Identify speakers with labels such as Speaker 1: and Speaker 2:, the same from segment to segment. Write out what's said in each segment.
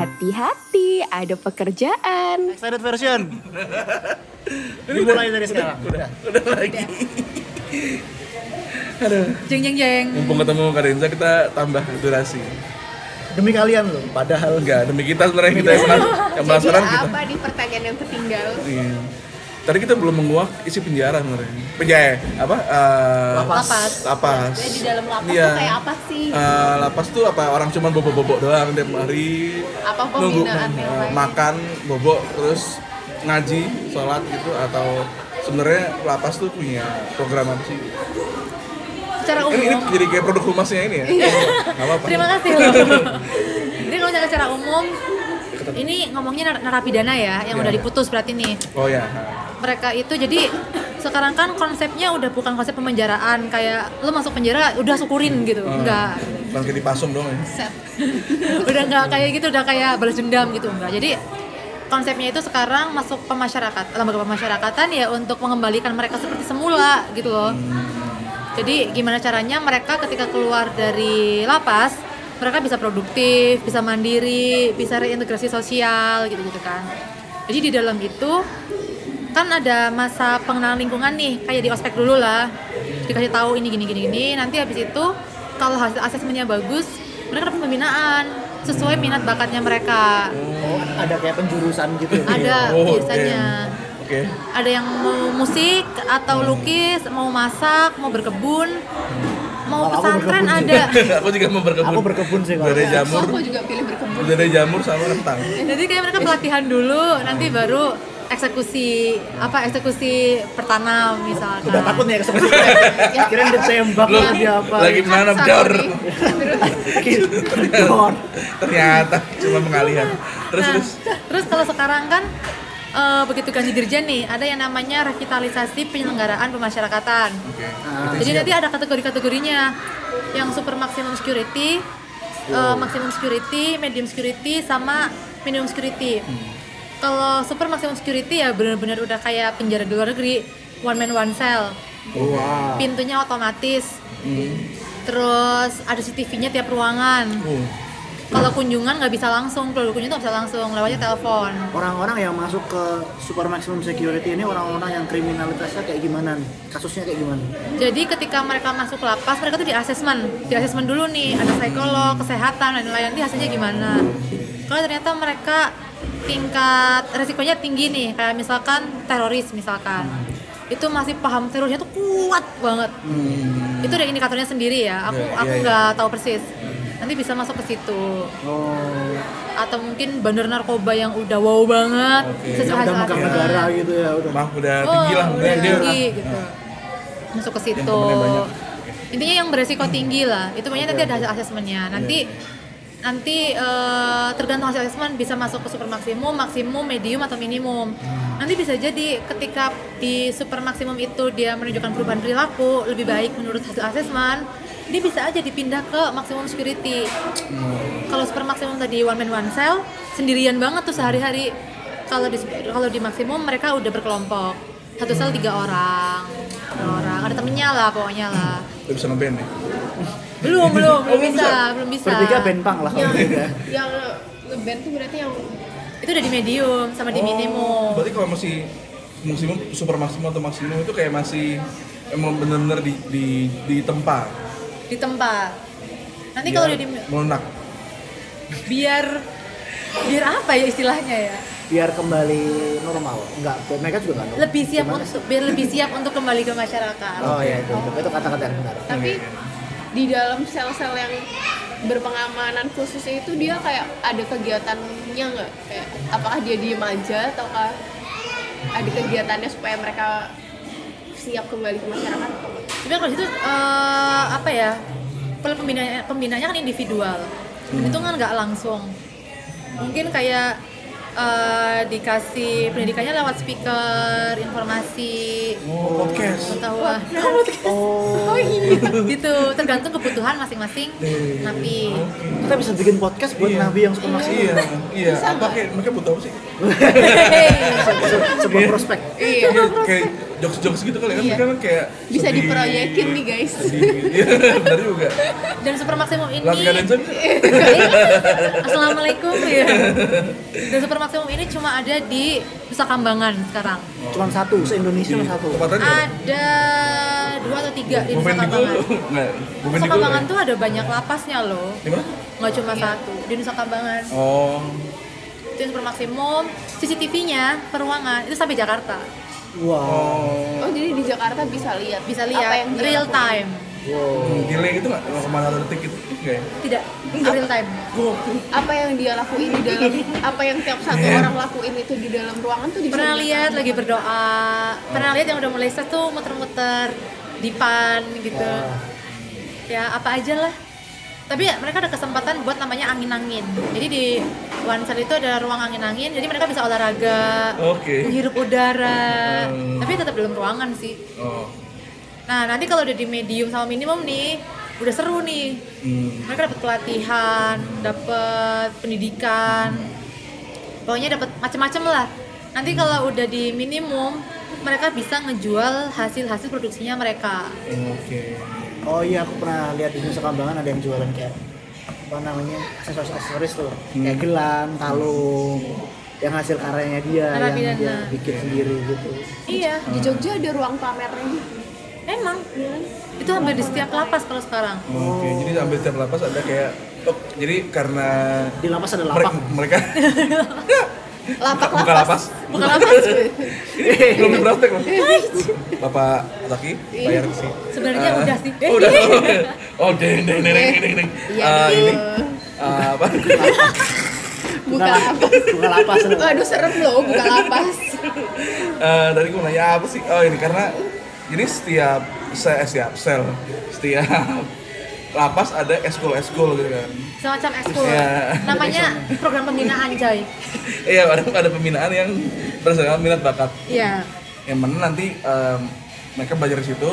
Speaker 1: hati-hati, ada pekerjaan.
Speaker 2: Extended version. Dimulai dari sekarang.
Speaker 3: udah udah lagi
Speaker 4: Jeng jeng jeng.
Speaker 3: mumpung ketemu Kak Renza kita tambah durasi
Speaker 2: Demi kalian loh, padahal
Speaker 3: enggak demi kita sebenarnya kita yang penas- yang
Speaker 5: Jadi
Speaker 3: penasaran kita
Speaker 5: apa di pertanyaan yang tertinggal?
Speaker 3: Iya. tadi kita belum menguak isi penjara sebenarnya penjara apa Eh,
Speaker 2: Lapas.
Speaker 4: Lapas.
Speaker 3: lapas
Speaker 5: Jadi di dalam lapas
Speaker 3: Iya.
Speaker 5: tuh kayak apa sih?
Speaker 3: Eh, lapas tuh apa orang cuman bobok-bobok doang tiap hari
Speaker 5: Apa
Speaker 3: nunggu
Speaker 5: pembinaan yang
Speaker 3: eh,
Speaker 5: lain?
Speaker 3: makan bobok terus ngaji sholat gitu atau sebenarnya lapas tuh punya program apa sih
Speaker 4: Secara
Speaker 5: Oh.
Speaker 3: ini, ini
Speaker 4: umum.
Speaker 3: jadi kayak produk humasnya ini ya
Speaker 5: Iya.
Speaker 3: nggak apa-apa
Speaker 4: Terima kasih loh. Jadi kalau misalnya secara umum ini ngomongnya nar- narapidana ya
Speaker 3: Iya,
Speaker 4: yang udah
Speaker 3: iya.
Speaker 4: diputus berarti nih.
Speaker 3: oh ya
Speaker 4: Mereka itu jadi sekarang kan konsepnya udah bukan konsep pemenjaraan kayak lo masuk penjara udah syukurin gitu.
Speaker 3: Hmm.
Speaker 4: Enggak.
Speaker 3: Bukan kayak di pasum dong ya
Speaker 5: Set.
Speaker 4: udah nggak kayak gitu udah kayak balas dendam gitu enggak jadi konsepnya itu sekarang masuk pemasyarakat lembaga pemasyarakatan ya untuk mengembalikan mereka seperti semula gitu loh
Speaker 3: Hmm.
Speaker 4: jadi gimana caranya mereka ketika keluar dari lapas mereka bisa produktif bisa mandiri bisa reintegrasi sosial gitu gitu kan jadi di dalam itu kan ada masa pengenalan lingkungan nih kayak di ospek dulu lah dikasih tahu ini gini gini gini nanti habis itu kalau hasil asesmennya bagus mereka dapat pembinaan sesuai minat bakatnya mereka
Speaker 2: oh, ada kayak penjurusan gitu ya.
Speaker 4: ada
Speaker 3: Oh,
Speaker 4: biasanya
Speaker 3: oke
Speaker 4: ada yang mau musik
Speaker 2: Hmm.
Speaker 4: atau lukis mau masak mau berkebun mau
Speaker 2: Kalau aku
Speaker 4: pesantren
Speaker 2: berkebun
Speaker 4: ada
Speaker 3: aku juga mau berkebun
Speaker 2: ya? Aku berkebun sih Ya. kalau.
Speaker 3: Udah ada jamur
Speaker 5: Aku juga pilih berkebun.
Speaker 3: udah ada jamur sama rentang
Speaker 4: jadi kayak mereka pelatihan dulu nanti baru eksekusi apa eksekusi pertanam misalnya
Speaker 2: Udah takut nih eksekusi. Kirain ditembak
Speaker 3: Lu
Speaker 2: lagi apa.
Speaker 3: lagi menanam
Speaker 5: Sakit.
Speaker 3: daur
Speaker 2: Dor.
Speaker 3: ternyata cuma pengalihan terus
Speaker 4: Nah,
Speaker 3: terus
Speaker 4: terus kalau sekarang kan eh, begitu ganti dirjen nih, ada yang namanya revitalisasi penyelenggaraan pemasyarakatan.
Speaker 3: oke
Speaker 4: Jadi nanti ada kategori-kategorinya. Yang super maximum security, eh, maximum security, medium security sama minimum security. Kalau super maximum security ya benar-benar udah kayak penjara di luar negeri, one man one cell.
Speaker 2: Wah.
Speaker 4: Pintunya otomatis. Terus ada CCTV-nya tiap ruangan.
Speaker 3: Uh,
Speaker 4: Kalau kunjungan nggak bisa langsung, kalau kunjungan nggak bisa langsung, lewatnya telepon.
Speaker 2: Orang-orang yang masuk ke super maximum security ini orang-orang yang kriminalitasnya kayak gimana nih? Kasusnya kayak gimana?
Speaker 4: Jadi ketika mereka masuk lapas, mereka tuh di asesmen, di asesmen dulu nih, ada psikolog, kesehatan, dan lain-lain, nanti hasilnya gimana. Kalau ternyata mereka tingkat resikonya tinggi nih, kayak misalkan teroris misalkan, itu masih paham terorisnya tuh kuat banget. Itu ada indikatornya sendiri ya, aku
Speaker 3: Hmm. Iya,
Speaker 4: aku
Speaker 3: iya,
Speaker 4: nggak tahu persis. Nanti bisa masuk ke situ,
Speaker 2: Oh,
Speaker 4: atau mungkin bandar narkoba yang udah wow banget,
Speaker 3: Oke.
Speaker 4: sesuai
Speaker 2: udah megang negara gitu ya udah.
Speaker 3: mah udah tinggi lah udah dia
Speaker 4: Oh, tinggi, gitu. masuk ke
Speaker 3: Yang
Speaker 4: situ
Speaker 3: temennya banyak.
Speaker 4: intinya yang beresiko tinggi lah itu banyak nanti ada hasil asesmennya
Speaker 3: Iya.
Speaker 4: nanti nanti eh, tergantung hasil asesmen bisa masuk ke super maksimum maksimum medium atau minimum
Speaker 3: Hmm.
Speaker 4: nanti bisa jadi ketika di super maksimum itu dia menunjukkan perubahan perilaku lebih baik menurut hasil asesmen dia bisa aja dipindah ke maksimum security kalau super maksimum tadi one man one cell sendirian banget tuh sehari-hari kalau di kalau di maksimum mereka udah berkelompok satu sel tiga orang tiga orang ada temennya lah pokoknya lah
Speaker 3: udah bisa ngeband nih
Speaker 4: belum belum belum
Speaker 3: belum
Speaker 4: bisa belum bisa
Speaker 2: Oh, Bertiga benpang lah kalau gitu ya.
Speaker 5: Yang
Speaker 2: bertiga.
Speaker 5: yang ngeband tuh berarti yang
Speaker 4: itu udah di medium sama di
Speaker 3: Oh,
Speaker 4: minimum
Speaker 3: berarti kalau masih maksimum super maksimum atau maksimum itu kayak masih emang bener-bener di di di tempat Iya.
Speaker 4: di tempat nanti kalau udah di
Speaker 3: melenak
Speaker 4: biar biar apa ya istilahnya ya
Speaker 2: Biar kembali normal. Enggak, mereka juga enggak normal.
Speaker 4: lebih siap
Speaker 2: Gimana sih?
Speaker 4: untuk biar lebih siap untuk kembali ke masyarakat
Speaker 2: Oh iya itu, itu kata-kata yang benar.
Speaker 5: tapi di dalam sel-sel yang berpengamanan khususnya itu dia kayak ada kegiatannya nggak? Kayak, apakah dia diem aja ataukah ada kegiatannya supaya mereka siap kembali ke masyarakat atau nggak?
Speaker 4: Tapi kalau itu apa ya? Kalau pembinanya pembinanya kan individual. Itu kan nggak langsung. Mungkin kayak eh, dikasih pendidikannya lewat speaker, informasi,
Speaker 3: oh, podcast
Speaker 4: pengetahuan.
Speaker 2: Oh,
Speaker 4: gitu, tergantung kebutuhan masing-masing
Speaker 3: Eh,
Speaker 4: napi.
Speaker 2: kita bisa bikin podcast buat
Speaker 3: Iya.
Speaker 2: nabi yang suka maksimal.
Speaker 3: iya iya apa kayak mereka butuh apa sih
Speaker 2: Se- se- sebuah prospek
Speaker 5: Iya.
Speaker 3: Iya, kayak jokes-jokes gitu kali ya, kan
Speaker 5: Iya.
Speaker 3: mereka kan kayak
Speaker 5: Bisa
Speaker 3: sedih,
Speaker 5: diproyekin nih, guys.
Speaker 3: sedih. Iya, benar juga.
Speaker 4: dan super maksimum ini Iya.
Speaker 3: Lagu kanan jam ya?
Speaker 4: Assalamualaikum ya. Dan super maksimum ini cuma ada di Nusa Kambangan sekarang.
Speaker 2: Cuman satu, se-Indonesia
Speaker 3: Di
Speaker 2: cuma satu.
Speaker 3: tempatan
Speaker 4: Ah,
Speaker 3: nggak ada.
Speaker 4: Ada dua atau tiga di
Speaker 3: Bu
Speaker 4: Nusa
Speaker 3: Bendigo,
Speaker 4: Kambangan.
Speaker 3: gitu. nggak, gitu ya. Bu
Speaker 4: Nusa
Speaker 3: Bendigo
Speaker 4: Kambangan
Speaker 3: nggak?
Speaker 4: tuh ada banyak lapasnya loh.
Speaker 3: Di mana?
Speaker 4: Nggak cuma satu di Nusa Kambangan.
Speaker 3: Oh,
Speaker 4: Itu yang super maksimum. CCTV-nya peruangan itu sampai Jakarta.
Speaker 2: Wow.
Speaker 3: oh,
Speaker 5: Oh jadi di Jakarta bisa lihat
Speaker 4: Bisa
Speaker 5: apa
Speaker 4: lihat
Speaker 5: yang dia
Speaker 4: real
Speaker 5: lakukan.
Speaker 4: time.
Speaker 3: Hmm, delay gitu nggak? Nggak kemana detik gitu? Nggak ya?
Speaker 4: Tidak real time.
Speaker 5: apa yang dia lakuin di dalam apa yang tiap satu orang lakuin itu di dalam ruangan tuh bisa
Speaker 4: Pernah
Speaker 5: dilihat.
Speaker 4: lihat lagi berdoa. Pernah lihat yang udah mulai stres tuh muter-muter di pan gitu. ya apa aja lah tapi ya, mereka ada kesempatan buat namanya angin-angin jadi di One Cell itu ada ruang angin-angin jadi mereka bisa olahraga
Speaker 3: Oke.
Speaker 4: menghirup udara
Speaker 3: Hmm.
Speaker 4: tapi tetap dalam ruangan sih
Speaker 3: Oh,
Speaker 4: nah nanti kalau udah di medium sama minimum nih udah seru nih
Speaker 3: hmm.
Speaker 4: mereka dapat pelatihan dapat pendidikan pokoknya dapat macam-macam lah nanti kalau udah di minimum mereka bisa ngejual hasil-hasil produksinya mereka
Speaker 3: Oke.
Speaker 2: Oh iya, aku pernah lihat di Nusa Kambangan ada yang jualan kayak apa namanya aksesoris-aksesoris tuh, kayak gelang, kalung, yang hasil karyanya dia, yang
Speaker 4: Narapidana.
Speaker 2: dia bikin sendiri gitu.
Speaker 4: iya
Speaker 5: ya. di Jogja ada ruang pamernya gitu
Speaker 4: Emang itu hampir di setiap lapas kalau sekarang.
Speaker 3: Oke,
Speaker 4: Oh.
Speaker 3: jadi sampai setiap lapas ada kayak oh, jadi karena
Speaker 2: Di lapas ada
Speaker 3: mereka,
Speaker 2: lapak.
Speaker 3: mereka
Speaker 5: lapak
Speaker 3: bukan lapas
Speaker 4: Bukan lapas.
Speaker 3: ini belum dipraktek loh bapak laki bayar sih
Speaker 4: Sebenarnya
Speaker 3: Eh,
Speaker 4: udah sih.
Speaker 3: oh, udah oh deng deng deng deng deng deng
Speaker 5: Iya,
Speaker 3: Eh,
Speaker 5: deng.
Speaker 3: ini eh, apa
Speaker 5: bukan lapas
Speaker 2: Bukan lapas loh.
Speaker 5: aduh serem loh bukan lapas
Speaker 3: Eh, tadi gue nanya apa sih? Oh ini karena ini setiap saya setiap sel, setiap lapas ada eskul eskul gitu kan.
Speaker 4: Semacam ekskul.
Speaker 3: Iya.
Speaker 4: Namanya program pembinaan coy.
Speaker 3: Iya ada ada pembinaan yang berdasarkan minat bakat.
Speaker 4: Iya.
Speaker 3: Yang mana nanti em, mereka belajar di situ,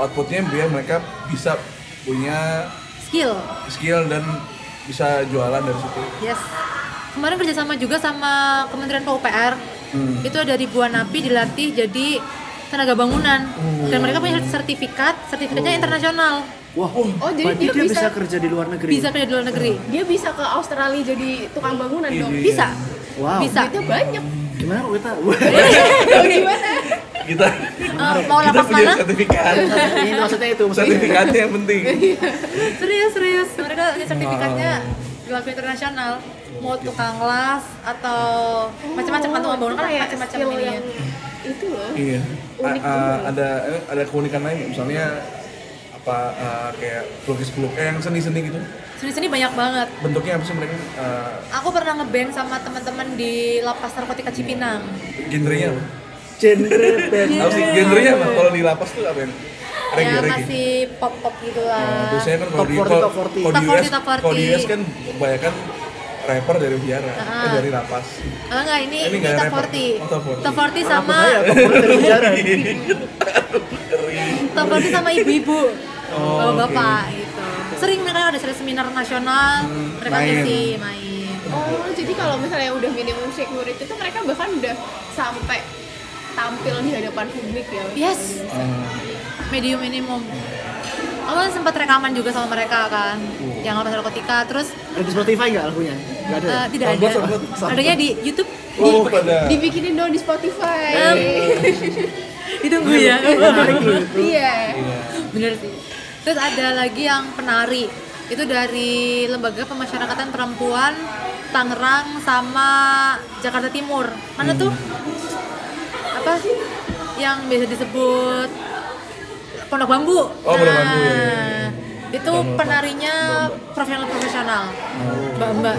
Speaker 3: outputnya biar mereka bisa punya
Speaker 4: Skill.
Speaker 3: skill dan bisa jualan dari situ.
Speaker 4: Yes. Kemarin kerjasama juga sama Kementerian PUPR.
Speaker 3: Hmm.
Speaker 4: Itu ada ribuan napi dilatih jadi tenaga bangunan dan mereka punya sertifikat, sertifikatnya internasional.
Speaker 2: Wah,
Speaker 5: Oh, jadi
Speaker 2: berarti
Speaker 5: dia
Speaker 2: dia bisa
Speaker 5: bisa-
Speaker 2: kerja di luar negeri.
Speaker 4: Bisa kerja di luar negeri.
Speaker 5: dia bisa ke Australia jadi tukang bangunan dong
Speaker 3: Iya.
Speaker 4: Bisa.
Speaker 2: Wow.
Speaker 4: Bisa.
Speaker 5: duitnya banyak
Speaker 2: Gimana kalau kita?
Speaker 5: Loh, gimana
Speaker 3: Kita
Speaker 4: Eh, mau
Speaker 3: kita
Speaker 4: lapas
Speaker 3: punya
Speaker 4: mana?
Speaker 3: sertifikat,
Speaker 2: Ini itu maksudnya itu maksudnya.
Speaker 3: sertifikatnya yang penting.
Speaker 4: serius serius mereka ini sertifikatnya dilakukan internasional mau tukang las atau macam-macam kan tukang bangunan kan
Speaker 5: Oh, Kayak
Speaker 4: macam-macam
Speaker 5: skill
Speaker 4: ini
Speaker 5: yang itu loh
Speaker 3: Iya. A-
Speaker 5: Unik
Speaker 3: a-
Speaker 5: juga.
Speaker 3: ada ada keunikan lain nggak? misalnya apa uh, kayak pelukis peluk eh, yang seni-seni gitu.
Speaker 4: seni-seni banyak banget
Speaker 3: Bentuknya apa sih mereka? Uh,
Speaker 4: aku pernah ngeband sama teman-teman di lapas narkotika Cipinang
Speaker 3: genrenya apa?
Speaker 2: Genre band.
Speaker 4: Iya.
Speaker 3: Apa sih genrenya apa? Kalau di lapas tuh apa yang? Reggae,
Speaker 4: ya
Speaker 3: reggae.
Speaker 4: masih pop-pop gitu
Speaker 3: Nah,
Speaker 4: lah
Speaker 3: biasanya kan kalau
Speaker 2: Top
Speaker 3: di
Speaker 2: 40,
Speaker 3: kalau
Speaker 2: top 40.
Speaker 3: kalau di US
Speaker 4: Top 40, top
Speaker 3: kalau di
Speaker 4: 40.
Speaker 3: US kan kebanyakan rapper dari biara,
Speaker 4: Ah.
Speaker 3: eh, dari lapas.
Speaker 4: Ah, enggak ini,
Speaker 3: Ini
Speaker 4: ini,
Speaker 3: enggak
Speaker 4: top
Speaker 3: rapper.
Speaker 4: 40
Speaker 3: Oh, top 40.
Speaker 4: top 40 sama
Speaker 2: Bahaya, kamu Iya, dari penjara.
Speaker 4: top 40 sama ibu-ibu
Speaker 3: Oh,
Speaker 4: bapak bapak gitu sering mereka ada seminar nasional
Speaker 3: Hmm,
Speaker 4: mereka
Speaker 3: main.
Speaker 4: ngisi main
Speaker 5: oh jadi kalau misalnya udah minimum security itu mereka bahkan udah sampai tampil di hadapan publik ya
Speaker 4: yes
Speaker 2: Hmm.
Speaker 4: medium minimum aku kan sempat rekaman juga sama mereka kan
Speaker 3: Oh.
Speaker 4: yang apa narkotika terus
Speaker 2: Ada di Spotify nggak lagunya? Nggak ada. ya?
Speaker 4: eh, tidak ada
Speaker 3: Soundboard, soundboard, soundboard.
Speaker 4: adanya di YouTube
Speaker 3: Oh, pada
Speaker 5: dibikinin dong di Spotify
Speaker 4: ditunggu ya
Speaker 5: iya
Speaker 3: iya.
Speaker 4: bener sih terus ada lagi yang penari itu dari lembaga pemasyarakatan perempuan Tangerang sama Jakarta Timur mana
Speaker 3: Hmm.
Speaker 4: tuh apa yang biasa disebut pondok bambu Nah,
Speaker 3: Oh, Pondok Bambu, ya, ya, ya.
Speaker 4: itu penarinya profesional profesional
Speaker 3: Oh.
Speaker 4: mbak mbak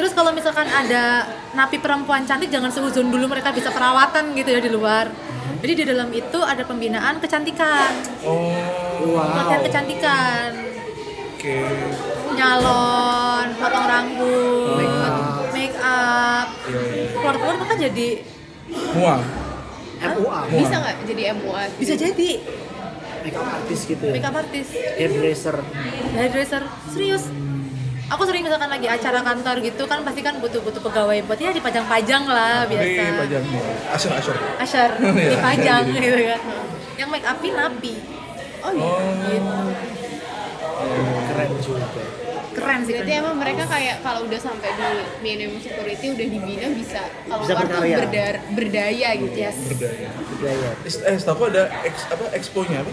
Speaker 4: terus kalau misalkan ada napi perempuan cantik jangan seuzon dulu mereka bisa perawatan gitu ya di luar jadi di dalam itu ada pembinaan kecantikan
Speaker 3: Oh,
Speaker 4: pelatihan
Speaker 2: Wow.
Speaker 4: kecantikan
Speaker 3: oke.
Speaker 4: nyalon potong rambut
Speaker 3: Make
Speaker 4: make
Speaker 3: up.
Speaker 4: up,
Speaker 3: Iya, iya.
Speaker 4: keluar keluar maka jadi
Speaker 3: Mual.
Speaker 2: MUA,
Speaker 5: bisa nggak jadi MUA
Speaker 4: bisa jadi
Speaker 2: makeup artist gitu ya.
Speaker 4: makeup artist
Speaker 2: Hairdresser.
Speaker 4: hairdresser serius aku sering misalkan lagi acara kantor gitu kan pasti kan butuh-butuh pegawai buat ya dipajang-pajang lah biasa. Oh,
Speaker 3: Ini pajang Asur asur.
Speaker 4: Asyar,
Speaker 3: Iya,
Speaker 4: dipajang
Speaker 3: iya,
Speaker 4: gitu kan. Yang make upin napi.
Speaker 5: oh iya
Speaker 3: Oh.
Speaker 2: keren juga
Speaker 4: Keren sih.
Speaker 5: berarti
Speaker 4: keren.
Speaker 5: emang mereka kayak kalau udah sampai di minimum security udah dibina bisa kalau
Speaker 2: Bisa
Speaker 5: keluar tuh
Speaker 2: berkarya.
Speaker 5: berdar- berdaya gitu ya
Speaker 3: Berdaya.
Speaker 2: budaya
Speaker 3: iya. Is- Eh, setahu aku ada ex, apa expo-nya apa?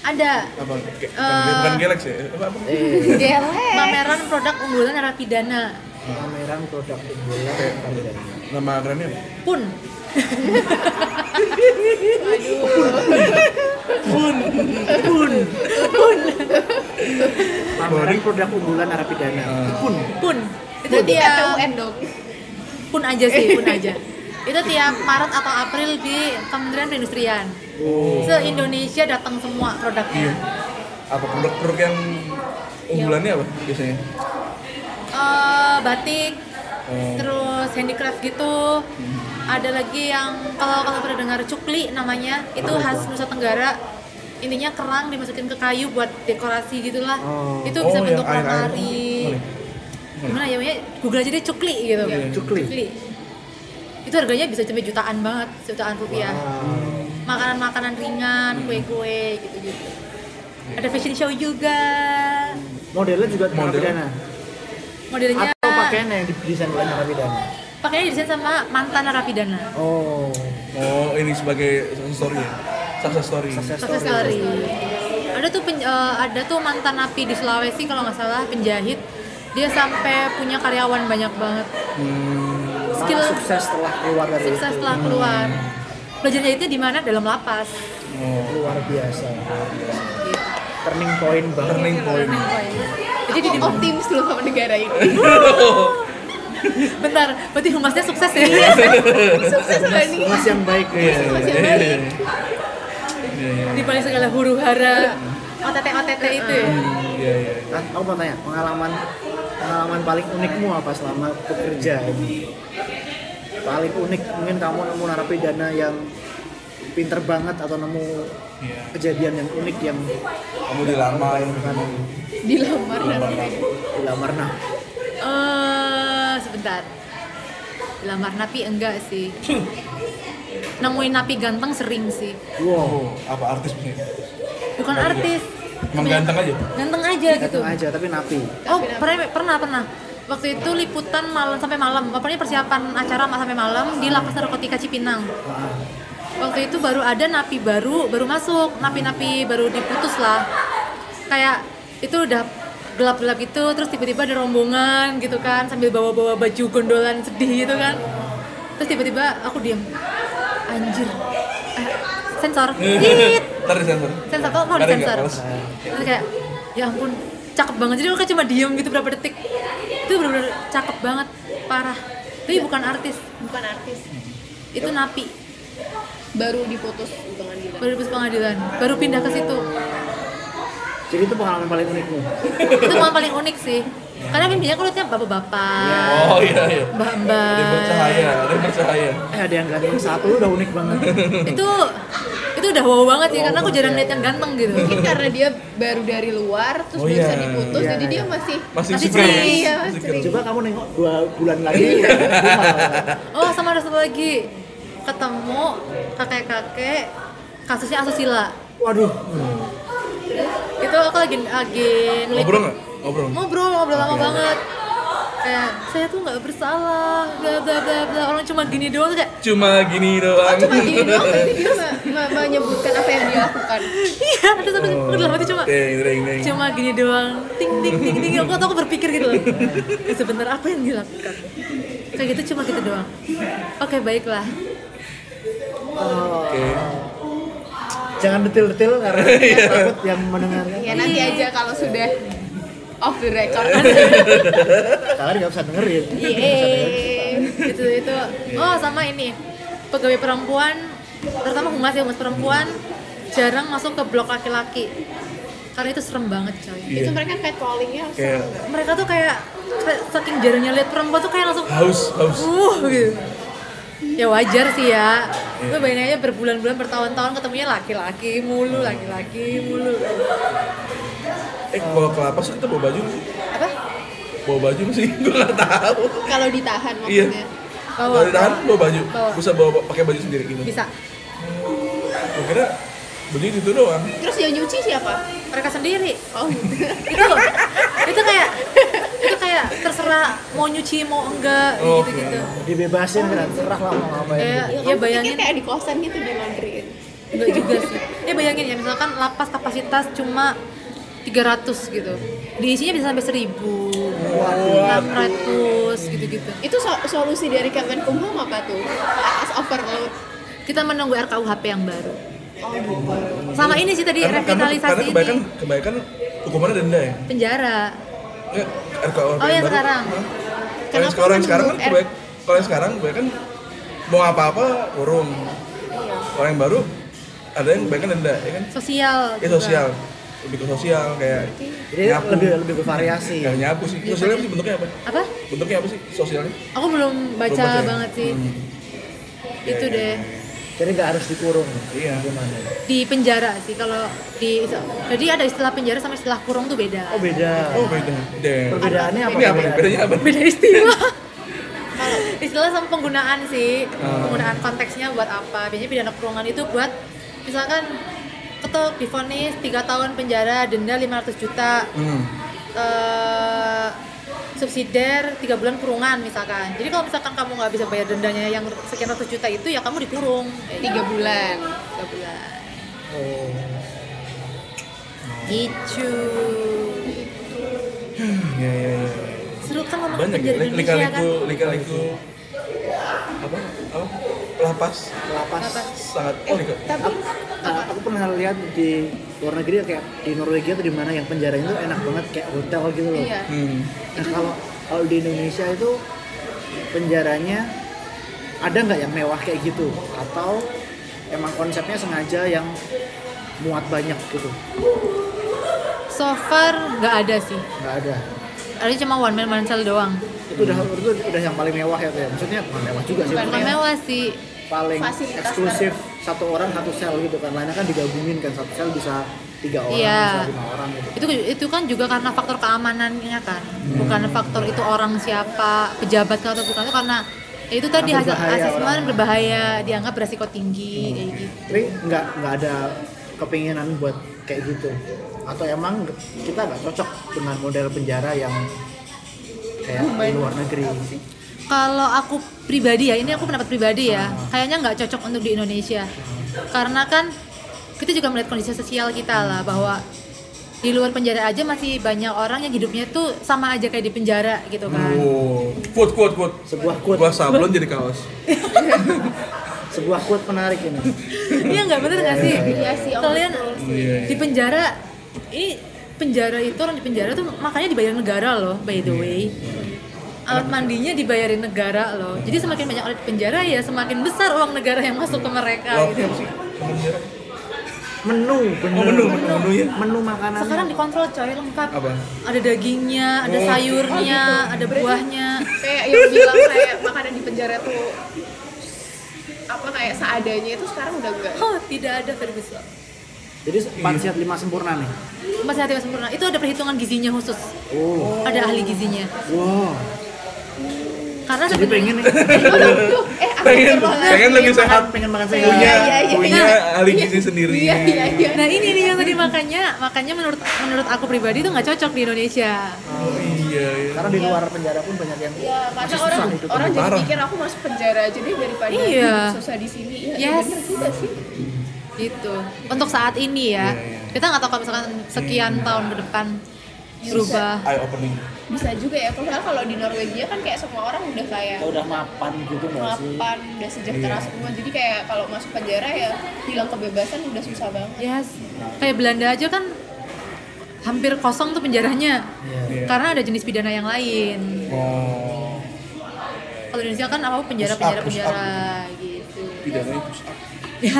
Speaker 4: Ada
Speaker 3: Apa? Ge-
Speaker 4: Eh.
Speaker 3: bukan, bukan Galaxy ya? Apa? apa?
Speaker 2: eh
Speaker 5: Mamer-
Speaker 4: pameran produk unggulan narapidana
Speaker 2: pameran produk unggulan dan harganya.
Speaker 3: Nama kerennya
Speaker 2: Eh.
Speaker 3: apa?
Speaker 4: pun.
Speaker 2: pameran produk unggulan narapidana
Speaker 3: Ah, Eh,
Speaker 2: pun
Speaker 4: Pun. Itu
Speaker 5: Itu dia
Speaker 4: tiap
Speaker 5: PUN dong
Speaker 4: pun aja sih, pun aja. Itu tiap Maret atau April di Kementerian Perindustrian. Se-Indonesia datang
Speaker 3: Oh.
Speaker 4: semua
Speaker 3: Iya.
Speaker 4: produknya.
Speaker 3: Apa produk-produk yang
Speaker 4: Iya.
Speaker 3: unggulannya apa biasanya?
Speaker 4: Eh, batik,
Speaker 3: Oh. Hmm.
Speaker 4: terus handicraft gitu. Ada lagi yang kalau kalau pernah dengar cukli namanya, itu khas Nusa Tenggara. Intinya kerang dimasukin ke kayu buat dekorasi gitulah.
Speaker 2: Oh.
Speaker 4: Itu
Speaker 3: Oh,
Speaker 4: bisa
Speaker 3: yang
Speaker 4: bentuk
Speaker 3: air-air.
Speaker 4: lemari.
Speaker 3: Boleh.
Speaker 4: Gimana ya, namanya? Google aja deh cukli gitu.
Speaker 3: iya.
Speaker 2: cukli
Speaker 4: Beli. Itu harganya bisa sampai jutaan banget, jutaan rupiah.
Speaker 2: Ah,
Speaker 4: Makanan-makanan ringan, kue-kue gitu-gitu. Ada fashion show juga.
Speaker 2: modelnya juga
Speaker 3: Model.
Speaker 2: narapidana
Speaker 4: Modelnya
Speaker 2: atau pakaiannya yang didesain oleh narapidana
Speaker 4: pakainya desain sama mantan narapidana.
Speaker 2: oh
Speaker 3: Oh, ini sebagai success story ya? Success story.
Speaker 2: success
Speaker 4: Success
Speaker 2: story
Speaker 4: story. Ada tuh pen- eh, ada tuh mantan napi di Sulawesi kalau nggak salah penjahit. Dia sampai punya karyawan banyak banget.
Speaker 3: Hmm.
Speaker 2: Malah
Speaker 4: Skill
Speaker 2: sukses setelah keluar dari
Speaker 4: sukses
Speaker 2: itu
Speaker 4: setelah keluar. Belajar jahitnya di mana? Dalam lapas.
Speaker 3: Oh.
Speaker 2: luar biasa
Speaker 4: Gitu.
Speaker 2: turning point banget
Speaker 3: Turning point.
Speaker 5: jadi di optimis dulu sama negara ini
Speaker 4: Bentar, berarti humasnya sukses ya?
Speaker 5: sukses nggak nih
Speaker 2: mas yang baik
Speaker 3: Iya.
Speaker 2: Mas.
Speaker 5: Masih
Speaker 3: iya,
Speaker 5: baik.
Speaker 3: iya. Iya, iya.
Speaker 4: di balik segala huru hara OTT OTT itu ya
Speaker 3: Iya, iya.
Speaker 2: Nah, aku mau tanya pengalaman pengalaman paling unikmu apa selama bekerja paling unik mungkin kamu nemu narapidana yang pinter banget atau nemu
Speaker 3: Iya.
Speaker 2: kejadian yang unik yang
Speaker 3: Kamu dilamar.
Speaker 2: bukan
Speaker 5: dilamar dan
Speaker 2: dilamar nah
Speaker 4: Eh, sebentar lamar napi enggak sih nemuin napi ganteng sering sih
Speaker 2: wow
Speaker 3: Oh, apa artis punya?
Speaker 4: bukan
Speaker 3: Enggak
Speaker 4: artis
Speaker 3: Emang ganteng aja?
Speaker 4: ganteng aja gitu
Speaker 2: datang aja tapi napi
Speaker 4: oh pernah pernah pernah waktu itu liputan malam sampai malam pokoknya persiapan acara sampai malam di lapas narkotika Cipinang
Speaker 2: Ah,
Speaker 4: waktu itu baru ada napi baru baru masuk napi-napi baru diputus lah kayak itu udah gelap-gelap gitu terus tiba-tiba ada rombongan gitu kan sambil bawa-bawa baju gondolan sedih gitu kan terus tiba-tiba aku diam anjir Eh, sensor Tit.
Speaker 3: Ntar disensor.
Speaker 4: sensor kok mau
Speaker 3: Ntar enggak,
Speaker 4: disensor
Speaker 3: males.
Speaker 4: terus kayak ya ampun cakep banget jadi aku cuma diem gitu berapa detik itu bener-bener cakep banget parah tapi bukan artis
Speaker 5: bukan artis
Speaker 4: itu napi
Speaker 5: baru diputus dengan dilamar
Speaker 4: baru di pengadilan baru pindah ke situ
Speaker 2: jadi itu pengalaman paling unikmu
Speaker 4: itu yang paling unik sih karena kan biasanya aku lihatnya bapak-bapak
Speaker 3: Oh iya iya. Dia
Speaker 4: mbak-mbak
Speaker 3: bercahaya, dia bercahaya.
Speaker 2: eh ada yang ganteng satu udah unik banget
Speaker 4: itu itu udah wow banget sih karena aku jarang lihat yang ganteng gitu
Speaker 5: mungkin karena dia baru dari luar terus
Speaker 3: Oh,
Speaker 5: belum
Speaker 3: iya.
Speaker 5: bisa diputus
Speaker 2: Iya,
Speaker 5: jadi
Speaker 2: iya.
Speaker 5: dia masih
Speaker 3: Masih
Speaker 4: Masih
Speaker 3: secret.
Speaker 4: ceria.
Speaker 5: Iya,
Speaker 3: Secret.
Speaker 5: masih
Speaker 2: coba kamu nengok dua bulan lagi ya.
Speaker 4: oh sama ada satu lagi ketemu kakek-kakek kasusnya asusila
Speaker 2: waduh
Speaker 4: itu aku lagi lagi
Speaker 3: Ngobrol nggak? Ngobrol.
Speaker 4: ngobrol ngobrol lama banget kayak saya tuh nggak bersalah bla bla bla bla orang cuma gini doang tuh kayak
Speaker 3: Cuma gini doang.
Speaker 5: Oh, cuma gini doang berarti dia ma- ma- menyebutkan apa yang dia lakukan Ya,
Speaker 4: iya terus aku aku dalam hati cuma
Speaker 3: Deng, deng, deng.
Speaker 4: cuma gini doang ting ting ting ting aku tuh aku berpikir gitu loh Eh, sebentar apa yang dilakukan kayak gitu cuma gitu doang oke baiklah
Speaker 3: Oke.
Speaker 2: jangan detil-detil karena takut yang mendengarkan
Speaker 5: ya nanti aja kalau sudah off the record
Speaker 2: kalian nggak usah dengerin
Speaker 4: Yeay. gitu itu oh sama ini pegawai perempuan terutama humas ya humas perempuan jarang masuk ke blok laki-laki karena itu serem banget coy
Speaker 5: itu mereka
Speaker 2: Iya.
Speaker 5: catcallingnya harus
Speaker 3: Kayak
Speaker 4: mereka tuh kayak kayak saking jarangnya lihat perempuan tuh kayak langsung
Speaker 3: haus, haus.
Speaker 4: uh gitu ya wajar sih ya gue bayangin aja berbulan-bulan bertahun-tahun ketemunya laki-laki mulu laki-laki mulu
Speaker 3: Eh, kalau ke lapas kita bawa baju nggak sih?
Speaker 4: apa
Speaker 3: Bawa bawa baju sih gue nggak tahu
Speaker 5: Kalau ditahan
Speaker 3: Iya.
Speaker 5: maksudnya.
Speaker 3: kalau ditahan bawa baju
Speaker 4: Bawa.
Speaker 3: bisa bawa pakai baju sendiri gitu
Speaker 4: bisa
Speaker 3: gue kira baju itu doang
Speaker 5: Terus yang nyuci siapa?
Speaker 4: mereka sendiri
Speaker 5: Oh,
Speaker 4: itu loh, itu kayak itu kayak terserah mau nyuci mau enggak
Speaker 3: Oke.
Speaker 4: gitu gitu
Speaker 2: dibebasin kan terserah lah mau ngapain
Speaker 4: ya,
Speaker 3: gitu.
Speaker 5: ya,
Speaker 4: ya
Speaker 5: kan
Speaker 4: bayangin
Speaker 5: pikir kayak di kosan gitu di laundry.
Speaker 4: enggak juga sih ya bayangin ya misalkan lapas kapasitas cuma 300 gitu diisinya bisa sampai 1000 600 gitu-gitu
Speaker 5: Itu so- solusi dari Kemenkumham apa tuh? Atas overload.
Speaker 4: kita menunggu RKUHP yang baru
Speaker 5: Oh, gitu.
Speaker 4: sama ini sih tadi
Speaker 3: karena, karena, karena
Speaker 4: revitalisasi
Speaker 3: kebanyakan
Speaker 4: ini
Speaker 3: kebanyakan hukumannya denda ya
Speaker 4: penjara
Speaker 3: Nggak, RKUHP
Speaker 4: Oh, yang
Speaker 3: baru.
Speaker 4: sekarang.
Speaker 3: Hah? Kalau
Speaker 5: Kenapa
Speaker 3: yang sekarang sekarang kan
Speaker 5: menurut R-
Speaker 3: kebanyak, kalau yang sekarang kebanyakan mau apa-apa kurung.
Speaker 4: Iya.
Speaker 3: Kalau yang baru ada yang kebanyakan denda ya kan?
Speaker 4: sosial
Speaker 3: Ya
Speaker 4: juga.
Speaker 3: sosial, lebih ke sosial kayak
Speaker 2: jadi
Speaker 3: nyapu.
Speaker 2: lebih lebih bervariasi
Speaker 3: Yang nyapu sih. Sosialnya apa sih bentuknya apa?
Speaker 4: apa
Speaker 3: Bentuknya apa sih sosialnya?
Speaker 4: aku belum baca,
Speaker 3: Belum baca ya?
Speaker 4: banget sih
Speaker 3: Hmm.
Speaker 4: itu
Speaker 3: Iya, iya.
Speaker 4: deh
Speaker 2: jadi nggak harus dikurung
Speaker 3: Iya.
Speaker 2: gimana
Speaker 4: di penjara sih kalau di jadi ada istilah penjara sama istilah kurung tuh beda
Speaker 2: oh beda
Speaker 3: Oh beda. Damn.
Speaker 2: perbedaannya apa
Speaker 3: Ini apa nih? Bedanya apa?
Speaker 4: beda istilah istilah sama penggunaan sih penggunaan konteksnya buat apa biasanya pidana kurungan itu buat misalkan ketok difonis 3 tahun penjara denda 500 juta
Speaker 3: Hmm.
Speaker 4: eh subsidiar 3 bulan kurungan misalkan jadi kalau misalkan kamu nggak bisa bayar dendanya yang sekian ratus juta itu ya kamu dikurung kayak
Speaker 5: Tiga bulan.
Speaker 4: tiga bulan
Speaker 2: Oh.
Speaker 4: gitu
Speaker 3: Ya ya ya.
Speaker 4: seru kan ngomong
Speaker 3: Banyak ya.
Speaker 4: penjara
Speaker 3: Li-
Speaker 4: Indonesia kan
Speaker 3: Lika-liku, lika-liku. Apa? Apa? Lapas
Speaker 2: lapas
Speaker 3: sangat oh lika-
Speaker 5: Tapi
Speaker 2: Nah, aku pernah lihat di luar negeri kayak di Norwegia atau di mana yang penjaranya itu enak banget kayak hotel gitu loh
Speaker 5: iya.
Speaker 3: Hmm.
Speaker 2: Nah, kalau kalau di Indonesia itu penjaranya ada nggak yang mewah kayak gitu atau emang konsepnya sengaja yang muat banyak gitu
Speaker 4: so far nggak ada sih
Speaker 2: nggak ada
Speaker 4: ada cuma one man one cell doang
Speaker 2: itu udah itu udah yang paling mewah ya tuh ya maksudnya bukan mewah juga sih
Speaker 4: bukan
Speaker 5: Bukan
Speaker 3: ya.
Speaker 2: maksudnya
Speaker 4: mewah sih
Speaker 2: paling
Speaker 5: Fasilitas
Speaker 2: eksklusif satu orang satu sel gitu kan lainnya kan digabungin kan satu sel bisa tiga orang
Speaker 4: Iya.
Speaker 2: bisa lima orang gitu
Speaker 4: itu itu kan juga karena faktor keamanannya kan bukan faktor itu orang siapa pejabat kah atau bukan itu karena ya itu tadi
Speaker 2: Karena
Speaker 4: hasil
Speaker 2: berbahaya
Speaker 4: asesmen
Speaker 2: orang. Hmm.
Speaker 4: berbahaya dianggap beresiko tinggi kayak gitu
Speaker 2: tapi nggak nggak ada kepinginan buat kayak gitu atau emang kita nggak cocok dengan model penjara yang kayak di luar negeri
Speaker 4: kalau aku pribadi ya ini aku pendapat pribadi ya
Speaker 2: Hmm.
Speaker 4: kayaknya nggak cocok untuk di Indonesia karena kan kita juga melihat kondisi sosial kita
Speaker 2: Hmm.
Speaker 4: lah bahwa di luar penjara aja masih banyak orang yang hidupnya tuh sama aja kayak di penjara gitu
Speaker 2: Hmm.
Speaker 4: kan
Speaker 3: Wow. Quote quote quote.
Speaker 2: sebuah quote
Speaker 3: Gua sablon jadi kaos.
Speaker 2: sebuah quote menarik ini
Speaker 4: Iya nggak bener nggak sih?
Speaker 5: Iya sih, om,
Speaker 4: Kalian
Speaker 5: betul
Speaker 3: Iya,
Speaker 4: di penjara ini penjara itu orang di penjara tuh makanya dibayar negara loh by
Speaker 2: Iya.
Speaker 4: the way. Alat mandinya dibayarin negara loh. Jadi semakin banyak orang di penjara ya semakin besar uang negara yang masuk ke mereka
Speaker 3: Lauknya
Speaker 4: gitu.
Speaker 3: apa sih? Makan jarak.
Speaker 2: menu bener.
Speaker 3: Oh menu, menu, menu ya.
Speaker 2: menu makanan
Speaker 4: Sekarang dikontrol coy lengkap.
Speaker 3: Apa?
Speaker 4: Ada dagingnya, ada
Speaker 3: Oh.
Speaker 4: sayurnya, ada buahnya.
Speaker 5: kayak yang bilang kayak makanan di penjara tuh apa kayak seadanya itu sekarang udah enggak.
Speaker 4: Oh, tidak ada Ferguson.
Speaker 2: jadi empat sehat lima sempurna nih
Speaker 4: Masih hati sempurna. Itu ada perhitungan gizinya khusus.
Speaker 3: Iya.
Speaker 2: oh
Speaker 4: Ada ahli gizinya.
Speaker 2: wow
Speaker 4: Karena
Speaker 2: jadi
Speaker 4: sebenarnya-
Speaker 2: pengen nih
Speaker 5: Aduh, eh aku
Speaker 3: Pengen,
Speaker 5: coba lagi.
Speaker 3: pengen lebih sehat.
Speaker 2: pengen makan
Speaker 5: Iya,
Speaker 2: sehat
Speaker 3: Punya,
Speaker 5: iya, iya.
Speaker 3: punya
Speaker 5: Iya.
Speaker 3: ahli gizi sendiri.
Speaker 5: Iya, iya, iya.
Speaker 4: Nah ini nih yang tadi makanya makanya menurut menurut aku pribadi tuh nggak cocok di Indonesia.
Speaker 3: Oh, iya, iya.
Speaker 2: karena di luar penjara pun banyak yang
Speaker 5: Ya, karena orang
Speaker 2: hidup.
Speaker 5: orang jadi
Speaker 3: Parah.
Speaker 5: mikir aku masuk penjara aja deh daripada
Speaker 4: Iya.
Speaker 5: susah di sini. Iya,
Speaker 4: Yes.
Speaker 5: bener juga sih.
Speaker 4: Gitu. Untuk saat ini
Speaker 3: Iya,
Speaker 4: ya. Kita nggak tahu kalau misalkan sekian tahun ke depan berubah.
Speaker 3: Eye opening.
Speaker 5: Bisa juga ya, padahal kalau di Norwegia kan kayak semua orang udah kayak
Speaker 2: Ya udah mapan gitu nggak sih
Speaker 5: mapan, udah sejahtera
Speaker 3: Iya.
Speaker 5: semua. Jadi kayak kalau masuk penjara ya hilang kebebasan udah susah banget.
Speaker 4: Yes. Kayak Belanda aja kan hampir kosong tuh penjaranya.
Speaker 3: Iya.
Speaker 4: Karena ada jenis pidana yang lain.
Speaker 3: Oh,
Speaker 4: Kalau di Indonesia kan apa penjara
Speaker 3: Push up,
Speaker 4: penjara
Speaker 3: push up.
Speaker 4: penjara gitu.
Speaker 3: pidananya push up.
Speaker 4: Ya,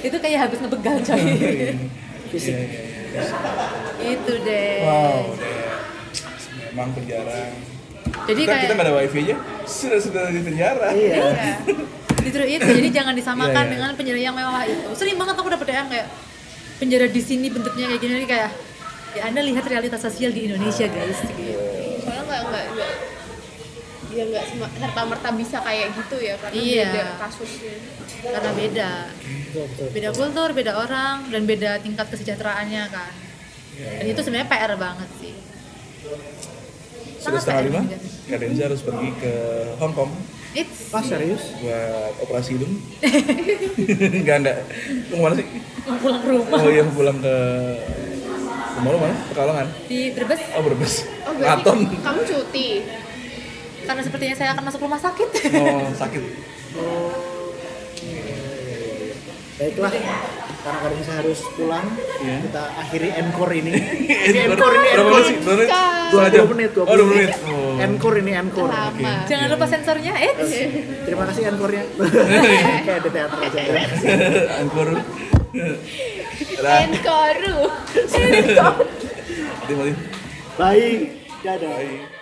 Speaker 4: itu kayak habis ngebegal coy.
Speaker 2: fisik
Speaker 3: Iya, iya, iya.
Speaker 4: itu deh.
Speaker 3: Wow, damn. Iya, memang penjara.
Speaker 4: Jadi
Speaker 3: kita, kita
Speaker 4: kayak
Speaker 3: nggak ada wifi aja, sudah sudah di penjara.
Speaker 2: iya
Speaker 5: Iya.
Speaker 4: Justru itu Gitu, jadi jangan disamakan
Speaker 3: Iya, iya.
Speaker 4: dengan penjara yang mewah itu. Sering banget aku dapet yang kayak penjara di sini bentuknya kayak gini kayak ya Anda lihat realitas sosial di Indonesia guys. Gitu.
Speaker 5: Soalnya nggak nggak ya nggak serta merta bisa kayak gitu ya karena
Speaker 4: Iya.
Speaker 5: beda kasusnya
Speaker 4: karena beda
Speaker 2: Betul, betul.
Speaker 4: beda kultur beda orang dan beda tingkat kesejahteraannya kan dan itu sebenarnya PR banget sih
Speaker 3: Sudah
Speaker 4: Sangat
Speaker 3: setengah
Speaker 4: PR
Speaker 3: lima,
Speaker 4: juga.
Speaker 3: Kak Denza harus pergi ke Hong Kong
Speaker 4: It's
Speaker 2: Wah
Speaker 3: Ah,
Speaker 2: serius?
Speaker 3: buat operasi hidung. Enggak, enggak. Lu kemana sih?
Speaker 4: mau pulang ke rumah
Speaker 3: Oh iya, pulang ke... Rumah lu mana? Pekalongan?
Speaker 4: di Brebes
Speaker 3: Oh, Brebes.
Speaker 5: oh berarti
Speaker 3: Maraton.
Speaker 5: kamu cuti
Speaker 4: karena sepertinya saya akan masuk rumah sakit
Speaker 3: Oh, sakit.
Speaker 2: Baiklah, karena kadang saya harus pulang,
Speaker 3: Iya.
Speaker 2: kita akhiri encore ini. ini encore ini
Speaker 3: Berapa
Speaker 2: encore.
Speaker 3: menit sih? Berapa menit? Dua
Speaker 2: 20
Speaker 3: jam.
Speaker 2: menit,
Speaker 3: Oh,
Speaker 2: 20
Speaker 3: dua menit.
Speaker 2: menit.
Speaker 3: Oh.
Speaker 2: Encore ini encore.
Speaker 5: lama
Speaker 4: jangan lupa sensornya eh
Speaker 2: Terima kasih encore-nya. Kayak di teater aja. ya.
Speaker 3: Angkur. Dah,
Speaker 5: Enkoru
Speaker 3: mati-mati.
Speaker 2: Baik, dadah.
Speaker 3: Bye.